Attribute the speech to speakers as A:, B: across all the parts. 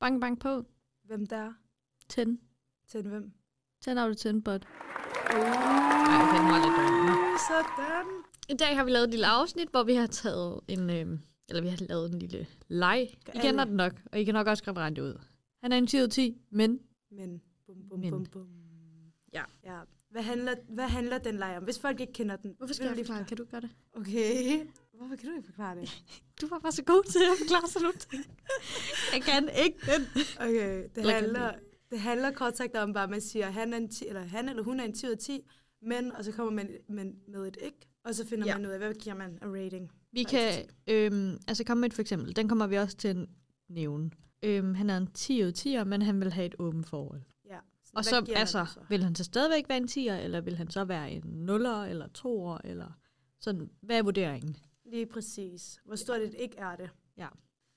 A: Bank, bank på.
B: Hvem der er?
A: Tænd.
B: Til hvem?
A: Tænd af det tændbot.
B: Uh,
A: okay, den var lidt dårlig.
B: sådan.
A: I dag har vi lavet et lille afsnit, hvor vi har taget en... Øh, eller vi har lavet en lille leg. I
B: Alle.
A: kender den nok, og I kan nok også skrive Randi ud. Han er en 10 ud af 10, men
B: Men, bum, bum,
A: Men.
B: bum, bum. Ja. ja. Hvad, handler, hvad handler den leg om? Hvis folk ikke kender den.
A: hvorfor skal
B: vil
A: jeg
B: du lige
A: forklare? Kan du gøre det?
B: forklare? Okay. Hvorfor kan du ikke forklare det?
A: Du var bare så god til at forklare sådan nogle ting. Jeg kan ikke den.
B: Okay, det
A: Eller kan
B: handler, det handler kort sagt om, bare, at man siger, han, er en 10, eller han eller hun er en 10 ud af 10, men, og så kommer man men, med et ikke, og så finder
A: Ja.
B: ja. man ud af, hvad giver man en rating?
A: Vi
B: Nej,
A: kan øhm, altså komme med et for eksempel. Den kommer vi også til at nævne. Øhm, han er en 10 ud af 10, men han vil have et åbent forhold.
B: Ja.
A: Og
B: hvad
A: så,
B: giver man
A: altså,
B: den så?
A: vil han så stadigvæk være en 10'er, eller vil han så være en 0'er, eller 2'er, eller sådan, hvad er vurderingen?
B: Lige præcis. Hvor stort et ikke er det?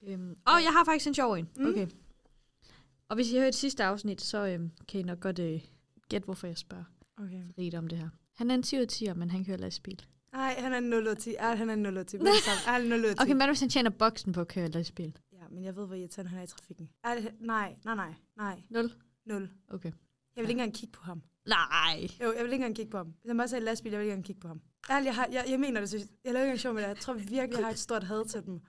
A: Øhm, og jeg har faktisk en sjov en.
B: Mm.
A: Okay. Og hvis I har hørt sidste afsnit, så øhm, kan I nok godt øh, gætte, hvorfor jeg spørger
B: Okay.
A: Rita om det her. Han er en 10 ud af 10'er, men han kører lastbil.
B: Nej, han er en 0 ud af 10. Ej, han er en 0 ud af 10. Men sammen. Ej, han er en 0 ud af 10.
A: Okay, hvad hvis han tjener boksen på at køre lastbil?
B: Ja, men jeg ved, hvor irriterende han er i trafikken. Ej, det- nej, nej, nej, nej.
A: 0?
B: 0.
A: Okay.
B: Jeg vil ikke engang kigge på ham.
A: Nej!
B: Jo, jeg vil ikke engang kigge på ham. Hvis han bare sagde lastbil, jeg vil ikke engang kigge på ham. Ærligt, jeg, har, jeg, jeg mener det, seriøst. jeg laver ikke engang sjov med det. Jeg tror virkelig, jeg har et stort had til dem.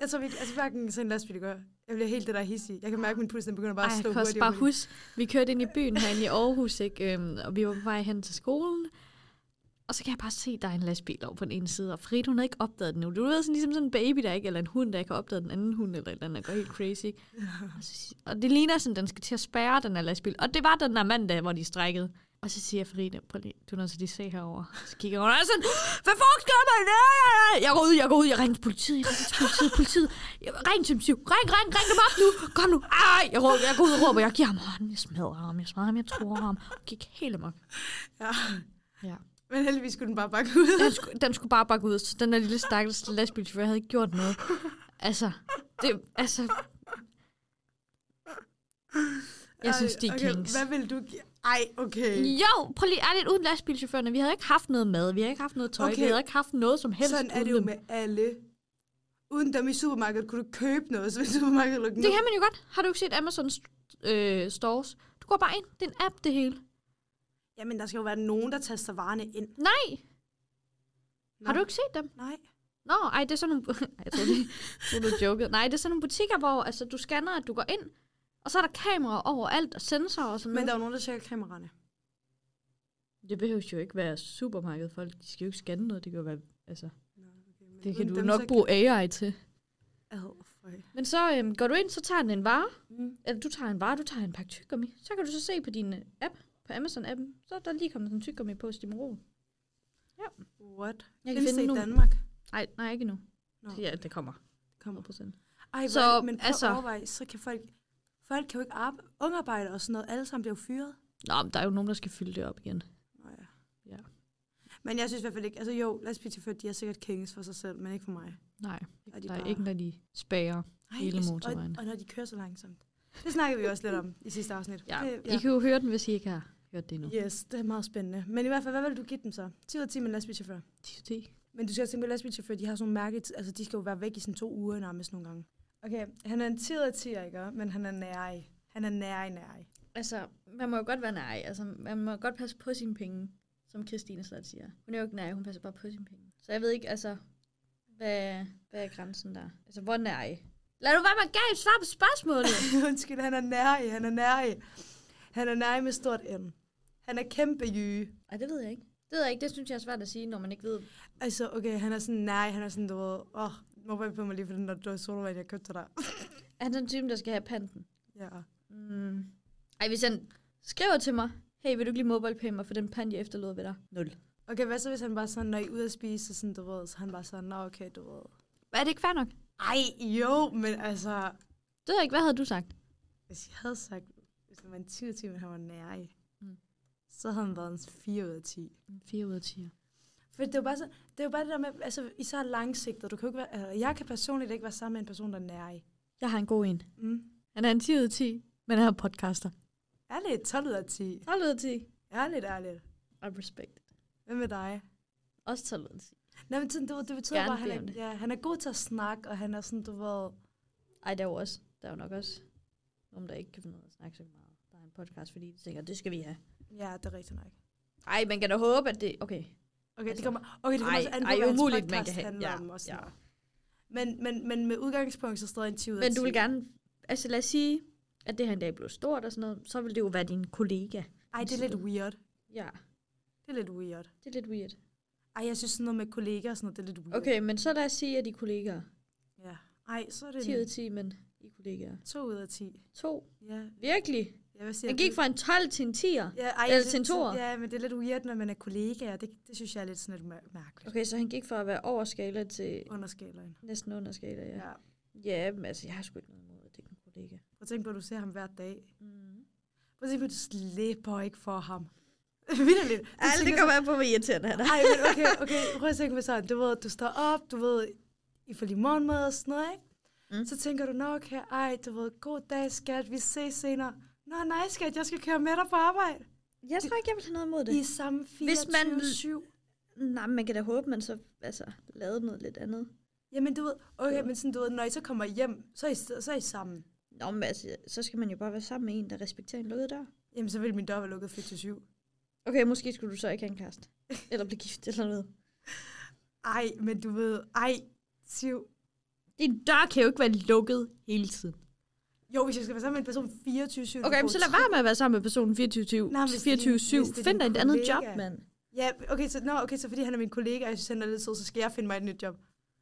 B: Jeg tror virkelig, altså hverken sådan en lastbil gør. Jeg bliver helt det der hissig. Jeg kan mærke, at min puls den begynder bare
A: Ej,
B: at
A: jeg
B: slå
A: kan også
B: hurtigt.
A: bare huske, vi kørte ind i byen herinde i Aarhus, ikke? Øhm, og vi var på vej hen til skolen. Og så kan jeg bare se, at der er en lastbil over på den ene side, og Frit, hun havde ikke opdaget den nu. Du ved, sådan, ligesom sådan en baby, der ikke, eller en hund, der ikke har opdaget den anden hund, eller et eller andet, der går helt crazy. ikke? Og, så, sig- og det ligner sådan, den skal til at spærre den her lastbil. Og det var den der mandag, hvor de strækkede. Og så siger jeg Frida, prøv lige, du er nødt til lige at se herover. Så kigger hun og er sådan, hvad fuck sker der? Ja, ja, ja. Jeg går ud, jeg går ud, jeg ringer til politiet, jeg ringer til politiet, politiet. Jeg, ring til syv, ring, ring, ring dem op nu, kom nu. Ej, jeg, råber, jeg går ud og råber, jeg giver ham hånden, jeg smadrer ham, jeg smadrer ham, jeg tror ham. Og gik helt amok.
B: Ja.
A: Ja.
B: Men heldigvis skulle den bare bakke ud.
A: Den skulle, den skulle bare bakke ud, så den der lille stakkels lastbilchauffør havde ikke gjort noget. Altså, det, altså, jeg synes, de er
B: okay,
A: kings.
B: Hvad vil du give? Ej, okay.
A: Jo, prøv lige ærligt, uden lastbilchaufførerne, vi havde ikke haft noget mad, vi havde ikke haft noget tøj, okay. vi
B: Okay.
A: havde ikke haft noget som helst.
B: Sådan er
A: uden
B: det jo
A: dem.
B: med alle. Uden dem i supermarkedet kunne du købe noget, så ville supermarkedet lukke
A: Det
B: ned.
A: kan man jo godt. Har du ikke set Amazon st- øh, Stores? Du går bare ind, det er en app det hele.
B: Jamen, der skal jo være nogen, der taster varerne ind.
A: Nej,
B: Nå.
A: har du ikke set dem?
B: Nej.
A: Nå, ej, det er sådan nogle... Ej, jeg troede, lige- jeg troede, du jokede. Nej, det er sådan nogle butikker, hvor altså, du scanner, at du går ind, og så er der kameraer overalt og sensorer og sådan
B: Men der
A: noget.
B: er jo nogen, der tjekker kameraerne.
A: Det behøver jo ikke være supermarkedet, folk. De skal jo ikke scanne noget, det kan jo være... Altså,
B: Men
A: det kan
B: uden
A: du
B: dem,
A: nok
B: så-
A: bruge AI til.
B: Ad, føj.
A: Men så øhm, går du ind, så tager den en vare,
B: Mm.
A: eller du tager en vare, du tager en pakke tyggegummi, så kan du så se på din øh, app, på Amazon-appen, så er der lige kommet en tyggegummi på Stimorol.
B: What?
A: Jeg
B: Findes det i
A: nogle-
B: Danmark?
A: Nej, nej, ikke endnu.
B: Nå,
A: Ja, det kommer.
B: kommer.
A: 100%.
B: Ej,
A: Så,
B: så, hvor, men
A: altså-
B: prøv altså, at overveje, så kan folk... Folk kan jo ikke arbejde, ungearbejde og sådan noget. Alle sammen bliver jo fyret.
A: Nå, men der er jo nogen, der skal fylde det op igen.
B: Nå, ja.
A: Ja.
B: Men jeg synes i hvert fald ikke... Altså jo, lastbilchauffør, de er sikkert kings for sig selv, men ikke for mig.
A: Nej,
B: Og de
A: der er
B: bare-
A: ikke, når de spager.
B: Ej,
A: hele
B: jeg sy-
A: motorvejen.
B: Og, og når de kører så langsomt. Det snakkede vi også lidt om i sidste afsnit.
A: Ja.
B: Det,
A: I kan jo høre den, hvis I ikke har hørt det endnu.
B: Yes, det er meget spændende. Men i hvert fald, hvad vil du give dem så? 10 ud af 10 med en lastbilchauffør.
A: 10.
B: Men du skal også tænke på, at lastbilchauffører, de har sådan nogle mærke, altså de skal jo være væk i sådan to uger nærmest nogle gange. Okay, han er en 10 ud af 10, ikke? Men han er nærig. Han er nærig, nærig.
A: Altså, man må jo godt være nej. Altså, man må godt passe på sine penge, som Christine Slot siger. Hun er jo ikke nej, hun passer bare på sine penge. Så jeg ved ikke, altså, hvad, hvad er grænsen der? Altså, hvor nej? Lad nu være med at gav et svar på spørgsmålet.
B: Undskyld, han er nærig, han er nærig. Han er nærig med stort N. Han er kæmpe jyge.
A: Ej, det ved jeg ikke. Det ved jeg ikke. Det synes jeg er svært at sige, når man ikke ved.
B: Altså, okay, han er sådan, nej, han er sådan, du ved, åh, oh, må bare på mig lige for den der dårlige sodavand, jeg købte til dig.
A: Er han sådan en type, der skal have panten?
B: ja.
A: Mm. Ej, hvis han skriver til mig, hey, vil du ikke lige mobile mig for den pant, jeg efterlod ved dig? Nul.
B: Okay, hvad så hvis han bare sådan, når I er ude at spise, så sådan, du ved, så han bare sådan, nå okay, du ved.
A: Er det ikke fair nok?
B: Ej, jo, men altså,
A: Det ved jeg ikke. Hvad havde du sagt?
B: Hvis jeg havde sagt, hvis han var en 10 ud af 10, men han var nærig,
A: Mm.
B: mm. så havde han været en 4 ud af 10.
A: 4 ud af 10.
B: For det er jo bare, så, det, er jo bare det der med, altså især langsigtet. Du kan jo ikke være, altså, jeg kan personligt ikke være sammen med en person, der er nærig.
A: Jeg har en god en.
B: Mm.
A: Han er en 10 ud af 10, men han er podcaster.
B: Ærligt, 12 ud af 10.
A: 12 ud af 10.
B: Ærligt, ærligt.
A: Og respekt.
B: Hvad med dig?
A: Også 12 ud af 10.
B: Nej, men sådan, det, det betyder
A: Gerne
B: bare, at
A: bede om
B: han, er,
A: det.
B: ja, han er god til at snakke, og han er sådan, du ved...
A: Ej, der er jo også. Der er jo nok også om der ikke kan finde ud af at snakke så meget. Der er en podcast, fordi de tænker, det skal vi have.
B: Ja, det er rigtigt nok.
A: Ej, man kan da håbe, at det... Okay,
B: Okay,
A: Altså,
B: det kommer, okay, det kommer
A: ej,
B: også an på,
A: ej,
B: hvad hans
A: umuligt, man
B: podcast
A: kan have-
B: handler
A: ja,
B: om. Og sådan
A: ja.
B: noget. Men, men, men med udgangspunkt, så stadig en 10 ud af
A: men du vil
B: 10.
A: gerne... Altså lad os sige, at det her en dag blev stort og sådan noget, så vil det jo være din kollega.
B: Ej, det er lidt weird.
A: Ja,
B: Det er lidt weird.
A: det er lidt weird.
B: Ej, jeg synes sådan noget med kollegaer og sådan noget, det er lidt weird.
A: Okay, men så lad os sige, at de er kollegaer.
B: Ja. Ej, så er
A: 10 ud af
B: det
A: 10, men I er kollegaer.
B: 2 ud af 10.
A: To.
B: Ja,
A: Virkelig?
B: jeg vil sige,
A: Den
B: at
A: gik
B: det-
A: fra en 12 til en 10'er.
B: Ja, ej,
A: eller
B: det-
A: til en
B: så-
A: toer.
B: Ja, men det er lidt weird, når man er kollegaer. Det, det synes jeg er lidt sådan lidt mær- mærkeligt.
A: Okay, så han gik fra at være over skala til
B: Under skalaen.
A: næsten under skala, ja.
B: Ja.
A: Ja, men altså, jeg har sgu ikke noget imod, at det er en kollega.
B: Prøv at tænke på, at du ser ham hver dag.
A: Mm.
B: Prøv at tænke på, at du slipper ikke for ham. Vitterligt. Du tænker sådan-
A: an på, hvor irriterende han
B: Ej, men okay, okay. Prøv at tænke på sådan. Du ved, du står op, du ved, I får lige morgenmad og sådan noget, ikke?
A: Mm.
B: Mm. Så tænker du, nå okay, ej, du ved, god dag, skat, vi ses senere. Nå nej, skat, jeg skal køre med dig på arbejde.
A: Jeg tror ikke, jeg vil have noget imod det.
B: I er sammen 24-7.
A: Hvis man- Nej, men man kan da håbe, man så altså, lavede noget lidt andet.
B: Jamen du ved, okay, men sådan, du ved, når I så kommer hjem, så er I, så er I sammen.
A: Nå, men altså, så skal man jo bare være sammen med en, der respekterer en lukket dør.
B: Jamen, så ville min dør være lukket 4 til 7.
A: Okay, måske skulle du så ikke have en kæreste. Eller blive gift eller noget.
B: Ej, men du ved, ej, 7.
A: Din dør kan jo ikke være lukket hele tiden.
B: Jo, hvis jeg skal være sammen med en person 24 7
A: Okay, men så lad være med at være sammen med personen 24-7.
B: Nej, men hvis det er din-
A: 24-7.
B: hvis det er
A: Find dig
B: din
A: et andet
B: kollega.
A: job, mand.
B: Ja, okay, så, nå, okay, så fordi han er min kollega, og jeg synes, han er lidt sød, så skal jeg finde mig et nyt job.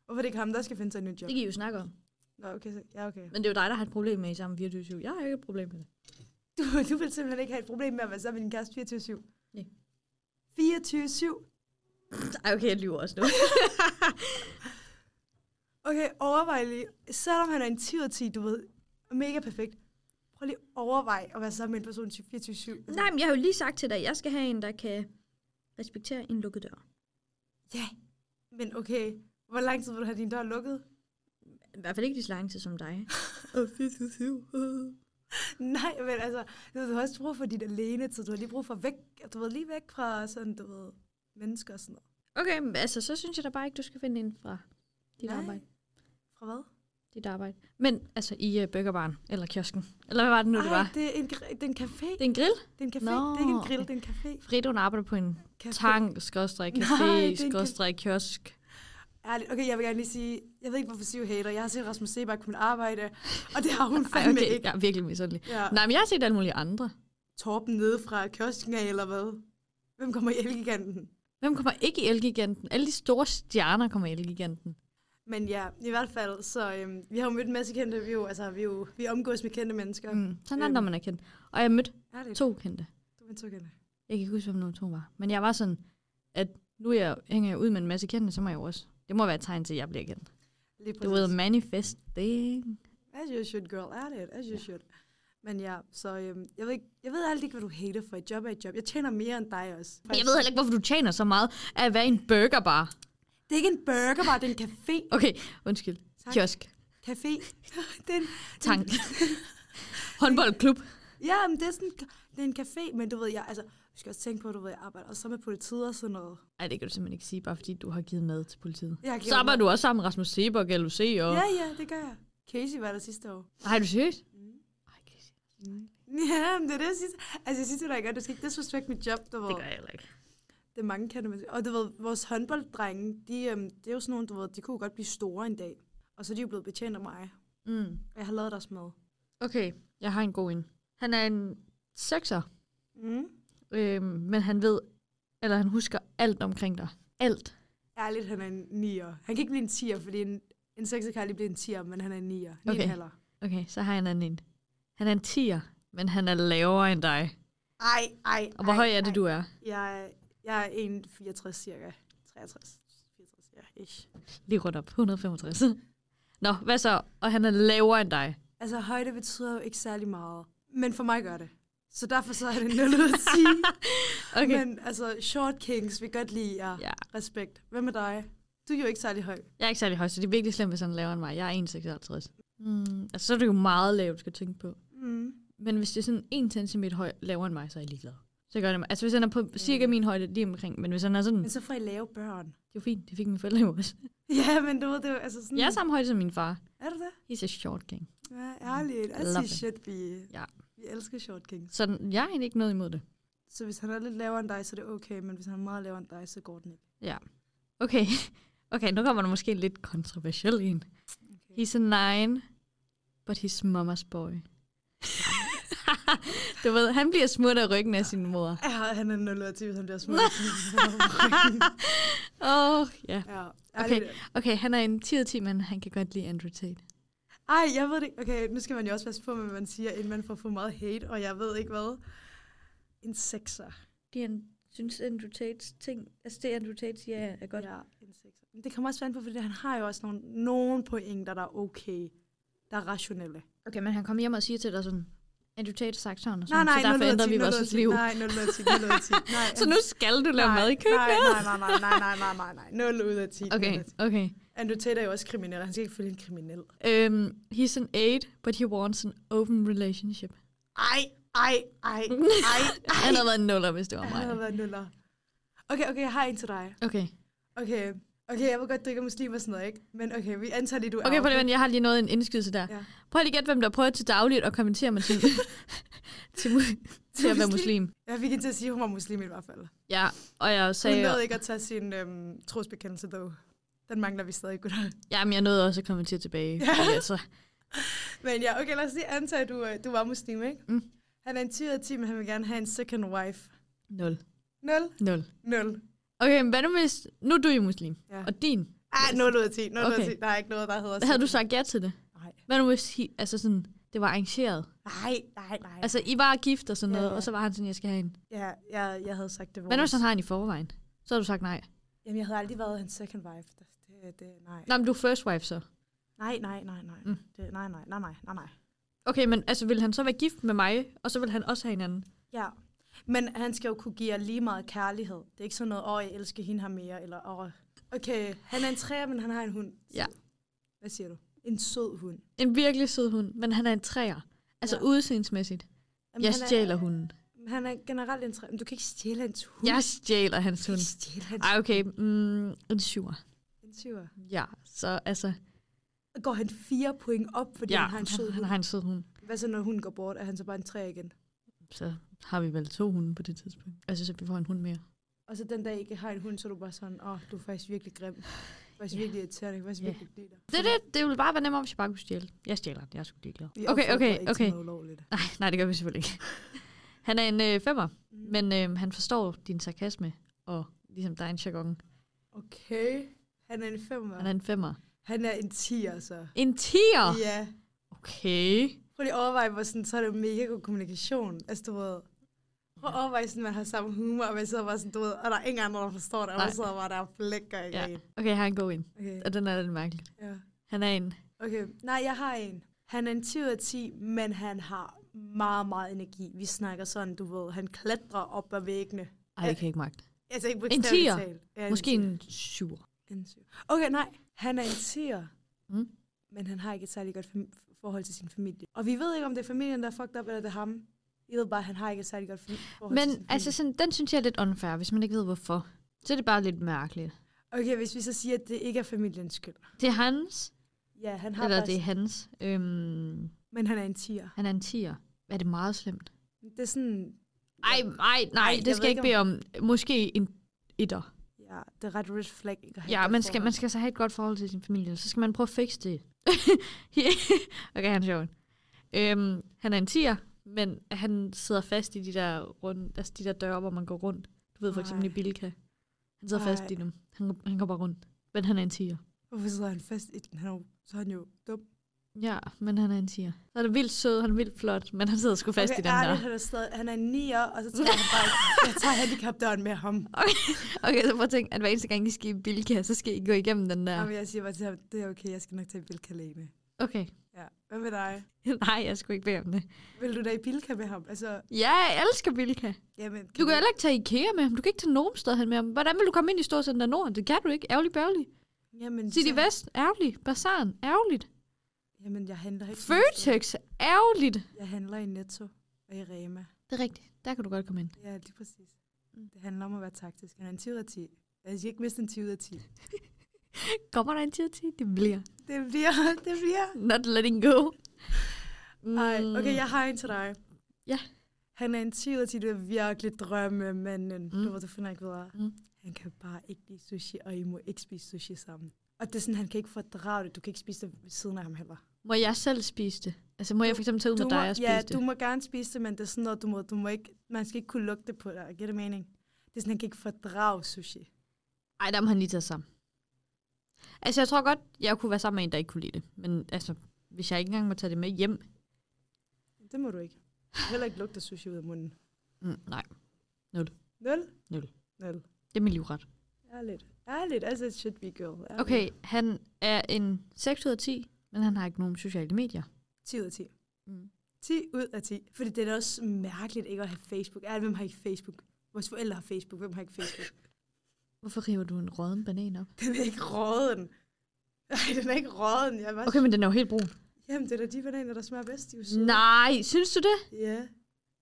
B: Hvorfor er det ikke ham, der skal finde sig et nyt job?
A: Det kan I jo snakke om.
B: Nå, okay, så, ja, okay.
A: Men det er jo dig, der har et problem med, at I er sammen 24-7. Jeg har ikke et problem med det.
B: Du, du vil simpelthen ikke have et problem med at være sammen med din kæreste 24 7
A: Nej.
B: 24 7
A: Ej, okay, jeg lyver også nu.
B: Okay, overvej lige. Selvom han er en 10 ud af 10, du ved, mega perfekt. Prøv lige at overveje at være sammen med en person 24 7
A: Nej, men jeg har jo lige sagt til dig, at jeg skal have en, der kan respektere en lukket dør.
B: Ja, men okay. Hvor lang tid vil du have din dør lukket?
A: I hvert fald ikke lige så lang tid som dig.
B: Nej, men altså, du, ved, du har også brug for dit alene tid. Du har lige brug for væk, du ved, lige væk fra sådan, du ved, mennesker og sådan noget.
A: okay, men altså, så synes jeg da bare ikke, du skal finde en fra dit
B: Nej.
A: arbejde.
B: Fra hvad?
A: Dit arbejde. Men altså i uh, burgerbaren, eller kiosken. Eller hvad var det nu, Ej, det var?
B: det er en, gr- det er en café.
A: Det er en grill.
B: Det er en café.
A: Nå,
B: Det er ikke en grill,
A: okay.
B: det er en café.
A: Frida, hun arbejder på en
B: café.
A: tang, skorstræk,
B: Nej, det er
A: café,
B: en café.
A: skorstræk, kiosk.
B: Ærligt. Okay, jeg vil gerne lige sige, jeg ved ikke, hvorfor Siv hater. Jeg har set Rasmus Sebak på mit arbejde, og det har hun
A: Ej,
B: fandme
A: okay,
B: ikke.
A: jeg er virkelig misundelig.
B: Ja.
A: Nej, men jeg har set alle mulige andre.
B: Torben nede fra kiosken af, eller hvad? Hvem kommer i Elgiganten?
A: Hvem kommer ikke i Elgiganten? Alle de store stjerner kommer i Elgiganten.
B: Men ja, i hvert fald, så øhm, vi har jo mødt en masse kendte, vi, er jo, altså, vi, er jo, vi omgås med kendte mennesker. Mm.
A: Mm. Sådan er det, når man er kendt. Og jeg mødte
B: Ærligt,
A: to kendte.
B: du er en to kendte.
A: Jeg kan ikke huske, hvem nogen to var. Men jeg var sådan, at nu er jeg, hænger jeg ud med en masse kendte, så må jeg jo også... Det må være et tegn til, at jeg bliver kendt.
B: Lige
A: Du ved, manifest thing.
B: As you should, girl. Ærligt, as you yeah. should. Men ja, så øhm, jeg, ved ikke, jeg ved aldrig ikke, hvad du hater for et job er et job. Jeg tjener mere end dig også.
A: Jeg ved heller ikke, hvorfor du tjener så meget af at være i en burgerbar.
B: Det er ikke en burger, bare det er en café.
A: Okay, undskyld.
B: Tak.
A: Kiosk.
B: Café. den,
A: Tank. Håndboldklub.
B: ja, men det er, sådan, det er en café, men du ved, jeg, altså, du skal også tænke på, du ved, jeg arbejder også sammen med politiet og sådan noget.
A: Nej, det kan du simpelthen ikke sige, bare fordi du har givet mad til politiet.
B: Jeg
A: Så arbejder du også sammen med Rasmus Seber, LUC og...
B: Ja, ja, det gør jeg. Casey var der sidste år.
A: Ej, er du seriøst?
B: Mm.
A: Ej, det
B: Ja, men det er det, jeg synes. Altså, jeg synes, det er godt. Du skal ikke disrespect mit job, du ved.
A: gør jeg heller ikke.
B: Det er mange kendte mennesker. Og du ved, vores håndbolddrenge, de, øhm, det er jo sådan nogle, du ved, de kunne jo godt blive store en dag. Og så er de jo blevet betjent af mig.
A: Mm.
B: Og jeg har lavet deres mad.
A: Okay, jeg har en god en. Han er en sekser,
B: Mm.
A: øhm, men han ved, eller han husker alt omkring dig. Alt.
B: Ærligt, han er en nier. Han kan ikke blive en tier, fordi en, en sekser kan aldrig blive en tier, men han er en nier. Ni
A: Okay.
B: okay. Heller.
A: Okay, så har jeg en anden en. Han er en tiger, men han er lavere end dig.
B: Ej, ej,
A: Og hvor
B: ej,
A: høj er det,
B: ej.
A: du er?
B: Jeg, er- jeg er 1,64 cirka. 63, 64, ja, ish.
A: Lige rundt op. 165. Nå, hvad så? Og han er lavere end dig.
B: Altså, højde betyder jo ikke særlig meget. Men for mig gør det. Så derfor så er det 0 ud af 10.
A: Okay.
B: Okay. Men altså, short kings, vi godt lide jer.
A: Ja.
B: Respekt. Hvad med dig? Du er jo ikke særlig høj.
A: Jeg er ikke særlig høj, så det er virkelig slemt, hvis han er lavere end mig. Jeg er 1,56. Mm, altså, så er det jo meget lavt, du skal tænke på.
B: Mm.
A: Men hvis det er sådan 1 cm høj, lavere end mig, så er jeg ligeglad. Så gør det mig. Altså, hvis han er på cirka min højde, lige omkring. Men hvis han er sådan,
B: Men
A: det
B: så får I lave børn.
A: er jo fint, det fik mine forældre jo også.
B: Ja, men du ved, det er jo altså sådan...
A: Jeg er samme højde som min far.
B: Er du det?
A: He's a short gang.
B: Ja, ærligt. I
A: Love
B: see
A: it.
B: shit, vi,
A: Ja.
B: vi elsker short kings.
A: Så jeg har egentlig ikke noget imod det.
B: Så hvis han er lidt lavere end dig, så er det okay, men hvis han er meget lavere end dig, så går den ikke.
A: Okay. Okay, nu kommer der måske en lidt kontroversiel en.
B: Okay.
A: He's a nine, but he's mama's boy. du ved, han bliver smurt af ryggen af sin mor.
B: Ja, han er 0 ud af 10, hvis han bliver smuk.
A: Åh, oh, ja.
B: ja,
A: Okay.
B: okay.
A: Okay, han er en 10 10, men han kan godt lide Andrew Tate.
B: Ej, jeg ved det ikke. Okay, nu skal man jo også passe på, hvad man siger, inden man får for meget hate, og jeg ved ikke hvad. En sekser.
A: Dian, synes Andrew Tates ting, altså det Andrew Tate siger, er
B: Ja, en sekser. Men det kommer også an på, fordi han har jo også nogle, nogle pointer, der er okay. Der er rationelle.
A: Okay, men han kommer hjem og siger til dig sådan, Andrew Tate har sagt sådan og
B: Nej,
A: sådan,
B: nej,
A: så derfor
B: 0 ud
A: ændrer
B: af 10,
A: vi
B: 0 ud af
A: vores
B: 10.
A: liv.
B: Nej, 0 ud af 10, 0 ud af 10. Nej,
A: Så nu skal du lave
B: nej,
A: mad i køkkenet?
B: Nej, nej, nej, nej, nej, nej, nej, nej. 0 ud af 10. 0 ud
A: Okay,
B: af 10.
A: okay.
B: Andrew Tate er jo også kriminel, og han skal ikke følge en kriminel.
A: Um, he's an eight, but he wants an open relationship.
B: Ej, ej, ej, ej,
A: Han havde været en nuller, hvis det var
B: Han har
A: mig.
B: været nuller. Okay, okay, jeg har en til dig.
A: Okay,
B: Okay, okay, jeg ved godt, du ikke er muslim og sådan noget, ikke? Men okay, vi antager lige, du er
A: okay, prøv lige, vent, jeg har lige noget en indskydelse der.
B: Ja.
A: Prøv lige at gætte, hvem der prøver til dagligt at kommentere mig til, til, mu- til at være muslim.
B: Jeg fik hende til at sige, at hun var muslim i hvert fald.
A: Ja, og jeg
B: Så hun
A: sagde,
B: nåede ikke at tage sin øhm, trosbekendelse, dog. Den mangler vi stadig, gutter.
A: jamen jeg nåede også at kommentere tilbage. Ja. Altså,
B: Men ja, okay, lad os lige antage, at du, øh, du var muslim, ikke?
A: Mm.
B: Han er en 10 ud af 10, men han vil gerne have en second wife.
A: nul,
B: 0,
A: nul.
B: 0.
A: Okay, men hvad nu hvis, nu er du jo muslim,
B: Ja.
A: og din
B: Ah, 0 ud af 10, 0 ud af
A: Okay.
B: 10. Der er ikke noget, der hedder...
A: Hvad havde du
B: second-
A: sagt ja til det?
B: Nej,
A: Hvad nu hvis he, altså sådan, det var arrangeret?
B: nej, nej. nej.
A: Altså, I var gift og sådan
B: Ja,
A: noget,
B: ja.
A: og så var han sådan, jeg skal have en.
B: ja, jeg, jeg havde sagt det.
A: Hvad nu hvis han har en i forvejen? Så har du sagt nej.
B: Jamen, jeg havde aldrig været hans second wife. Det, det, det nej.
A: Nå, men du er first wife så.
B: Nej, nej, nej, nej.
A: Mm.
B: Det, nej, nej, nej, nej, nej, nej.
A: Okay, men altså, vil han så være gift med mig, og så vil han også have en anden?
B: Ja. Men han skal jo kunne give jer lige meget kærlighed. Det er ikke sådan noget, åh, jeg elsker hende her mere, eller åh. Okay, han er en træer, men han har en hund.
A: Ja.
B: Hvad siger du? En sød hund.
A: En virkelig sød hund, men han er en træer. Altså
B: Ja.
A: ja. udseendsmæssigt.
B: Jamen,
A: jeg
B: han er-
A: stjæler hunden.
B: Han er generelt en træer. Men du kan ikke stjæle hans hund.
A: Jeg stjæler hans
B: Du kan
A: hund.
B: ikke stjæle hans
A: Ej, okay. Mm, en syver.
B: En syver.
A: Ja, så altså...
B: Går han fire point op, fordi
A: Ja,
B: ja, han har en sød
A: han
B: hund?
A: har en sød hund.
B: Hvad så, når hunden går bort? Er han så bare en træer igen?
A: Så har vi vel to hunde på det tidspunkt. Altså, så vi får en hund mere.
B: Og så den dag, I ikke har en hund, så er du bare sådan, åh, du er faktisk virkelig grim. Du er faktisk
A: Ja.
B: virkelig irriterende. Jeg kan faktisk
A: Ja.
B: virkelig ikke lide dig.
A: Det, det, det ville bare være nemmere, hvis jeg bare kunne stjæle. Jeg stjæler, jeg er sgu ligeglad.
B: Vi
A: Okay,
B: opfordrer
A: okay,
B: ikke til
A: okay.
B: noget Mm. ulovligt.
A: Nej, nej, det gør vi selvfølgelig ikke. Han er en øh, femmer, men øh, han forstår din sarkasme, og ligesom der er en jargon.
B: Okay. Han er en femmer.
A: Han er en femmer.
B: Han er en 10, altså.
A: En tiger!
B: Ja.
A: Okay.
B: Prøv lige at overveje, hvor sådan, så er det mega god kommunikation. Altså, du ved... Prøv at overveje, sådan, man har samme humor, og man sidder bare sådan, du ved, og der er ingen andre, der forstår det, og man
A: Nej.
B: sidder bare der og flækker i
A: Ja.
B: ja.
A: Okay, jeg har en god en,
B: Okay,
A: og den er lidt mærkelig.
B: ja.
A: Han er en...
B: Okay, nej, jeg har en. Han er en 10 ud af 10, men han har meget, meget energi. Vi snakker sådan, du ved, han klatrer op ad væggene.
A: Ej, det kan jeg ikke magte.
B: Altså ikke
A: En
B: bogstaveligt
A: tier?
B: talt. Ja,
A: Måske
B: tier.
A: en syver.
B: En syv. Okay, nej. Han er en tier.
A: Mm.
B: Men han har ikke et særlig godt fam- forhold til sin familie. Og vi ved ikke, om det er familien, der er fucked up, eller det er ham. I ved bare, at han har ikke et særlig godt fam- forhold
A: Men
B: til sin
A: altså, sådan, den synes jeg er lidt unfair, hvis man ikke ved hvorfor. Så er det bare lidt mærkeligt.
B: familie. Okay, hvis vi så siger, at det ikke er familiens skyld.
A: Det er hans,
B: Ja, han har
A: eller
B: bare...
A: det er hans. Øhm,
B: Men han er en tier.
A: han er en tiger. Er det meget slemt?
B: Det er sådan...
A: Ej, ej, nej,
B: jeg
A: det skal
B: ved
A: jeg ikke
B: ikke,
A: bede om. Måske en etter.
B: Ja, det er ret red flag. Ikke at have et
A: Ja,
B: godt
A: man skal,
B: forhold.
A: man skal så have et godt forhold til sin familie, så skal man prøve at fikse det. okay, han er sjov. Øhm, han er en tiger, men han sidder fast i de der, runde, altså de der døre, hvor man går rundt. Du ved for eksempel
B: Ej.
A: i Bilka. Han sidder fast
B: Ej.
A: i dem. Han, han går bare rundt. Men han er en tiger.
B: Hvorfor sidder han fast i den? Han er jo, så er han jo dum.
A: Ja, men han er en tiger. Så er det vildt sød, han er vildt flot, men han sidder sgu fast i den
B: ærligt,
A: der.
B: han er, stadig, han er en nier, og så tager han bare... Jeg tager handicapdøren med ham.
A: Okay, så prøv at tænke, at hver eneste gang I skal i Bilka, så skal I gå igennem den
B: Ja.
A: der.
B: Jamen, jeg siger bare til ham, det er okay, jeg skal nok tage Bilka alene.
A: Okay.
B: Ja. Hvad med dig?
A: Nej, jeg skulle ikke bede om det.
B: Vil du da i Bilka med ham? Altså,
A: Ja, jeg elsker Bilka.
B: jamen,
A: Du kan heller ikke tage IKEA med ham. Du kan ikke tage nogen sted hen med ham. Hvordan vil du komme ind i Storcenter Nord? Det kan du ikke. Ærgerlig bærgerlig.
B: Jamen,
A: City
B: så-
A: Vest, ærgerlig. Bazaren, ærgerligt.
B: Jamen, jeg handler ikke. sådan et sted.
A: Føtex, ærgerligt.
B: Jeg handler i Netto og i Rema.
A: Det er rigtigt. Der kan du godt komme ind.
B: Ja, lige præcis.
A: Mm.
B: Det handler om at være taktisk. Han er en 10 ud af 10. Jeg skal ikke miste en 10 ud af 10.
A: Kommer der en tid til? Det bliver.
B: Det bliver, det bliver.
A: Not letting go.
B: Ej, okay, jeg har en til dig.
A: Mm. Ja.
B: Han er en 10 ud af 10, du er virkelig drømmemanden. Mm.
A: Mm.
B: Du, ved, du finder ikke videre.
A: Mm.
B: Han kan bare ikke lide sushi, og I må ikke spise sushi sammen. Og det er sådan, han kan ikke fordrage det. Du kan ikke spise det ved siden af ham heller.
A: Må jeg selv spise det? Altså, må jeg for eksempel tage ud
B: Du
A: med dig og spise
B: ja,
A: det?
B: du må gerne spise det, men det er sådan noget, du må, du må ikke, man skal ikke kunne lugte det på dig. Giver det mening? Det er sådan, han kan ikke fordrage sushi.
A: Ej, der må han lige tage sig sammen. Altså, jeg tror godt, jeg kunne være sammen med en, der ikke kunne lide det. Men altså, hvis jeg ikke engang må tage det med hjem...
B: Det må du ikke. Du kan heller ikke lugte sushi ud af munden.
A: Mm, nej,
B: Nul?
A: Nul.
B: Nul.
A: det er min livret.
B: Ærligt. Ærligt. Altså, it should be girl. Ærligt.
A: Okay, han er en 6 ud af 10, men han har ikke nogen sociale medier.
B: 10 ud af 10.
A: Mm.
B: 10 ud af 10. Fordi det er da også mærkeligt ikke at have Facebook. Ærligt, hvem har ikke Facebook? Vores forældre har Facebook. Hvem har ikke Facebook?
A: Hvorfor river du en rådden banan op?
B: Den er ikke råden. Nej, den er ikke råden. Jeg var
A: Okay, men den er jo helt brun.
B: Jamen, det er da de bananer, der smager bedst. De er jo søde.
A: Nej, synes du det?
B: Ja.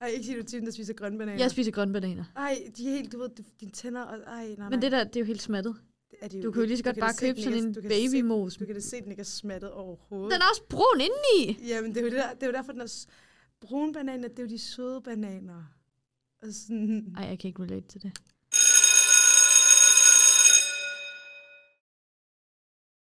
B: Ej, ikke sige, du er typen, der spiser grønne bananer.
A: Jeg spiser grønne bananer.
B: Ej, de er helt, du ved, du- dine tænder og... Ej, nej, nej.
A: Men det der, det er jo helt smattet.
B: Det er de
A: Du kan jo lige så godt
B: ikke. Du kan da
A: bare
B: se,
A: købe
B: den
A: sådan
B: ikke er-
A: en
B: du kan da se-
A: babymos.
B: Du kan da se, den ikke er smattet overhovedet.
A: Den er også brun indeni.
B: Jamen, det er jo, det der, det er jo derfor, den er... s- Brune bananer, det er jo de søde bananer. Og sådan...
A: Ej, jeg kan ikke relate til det.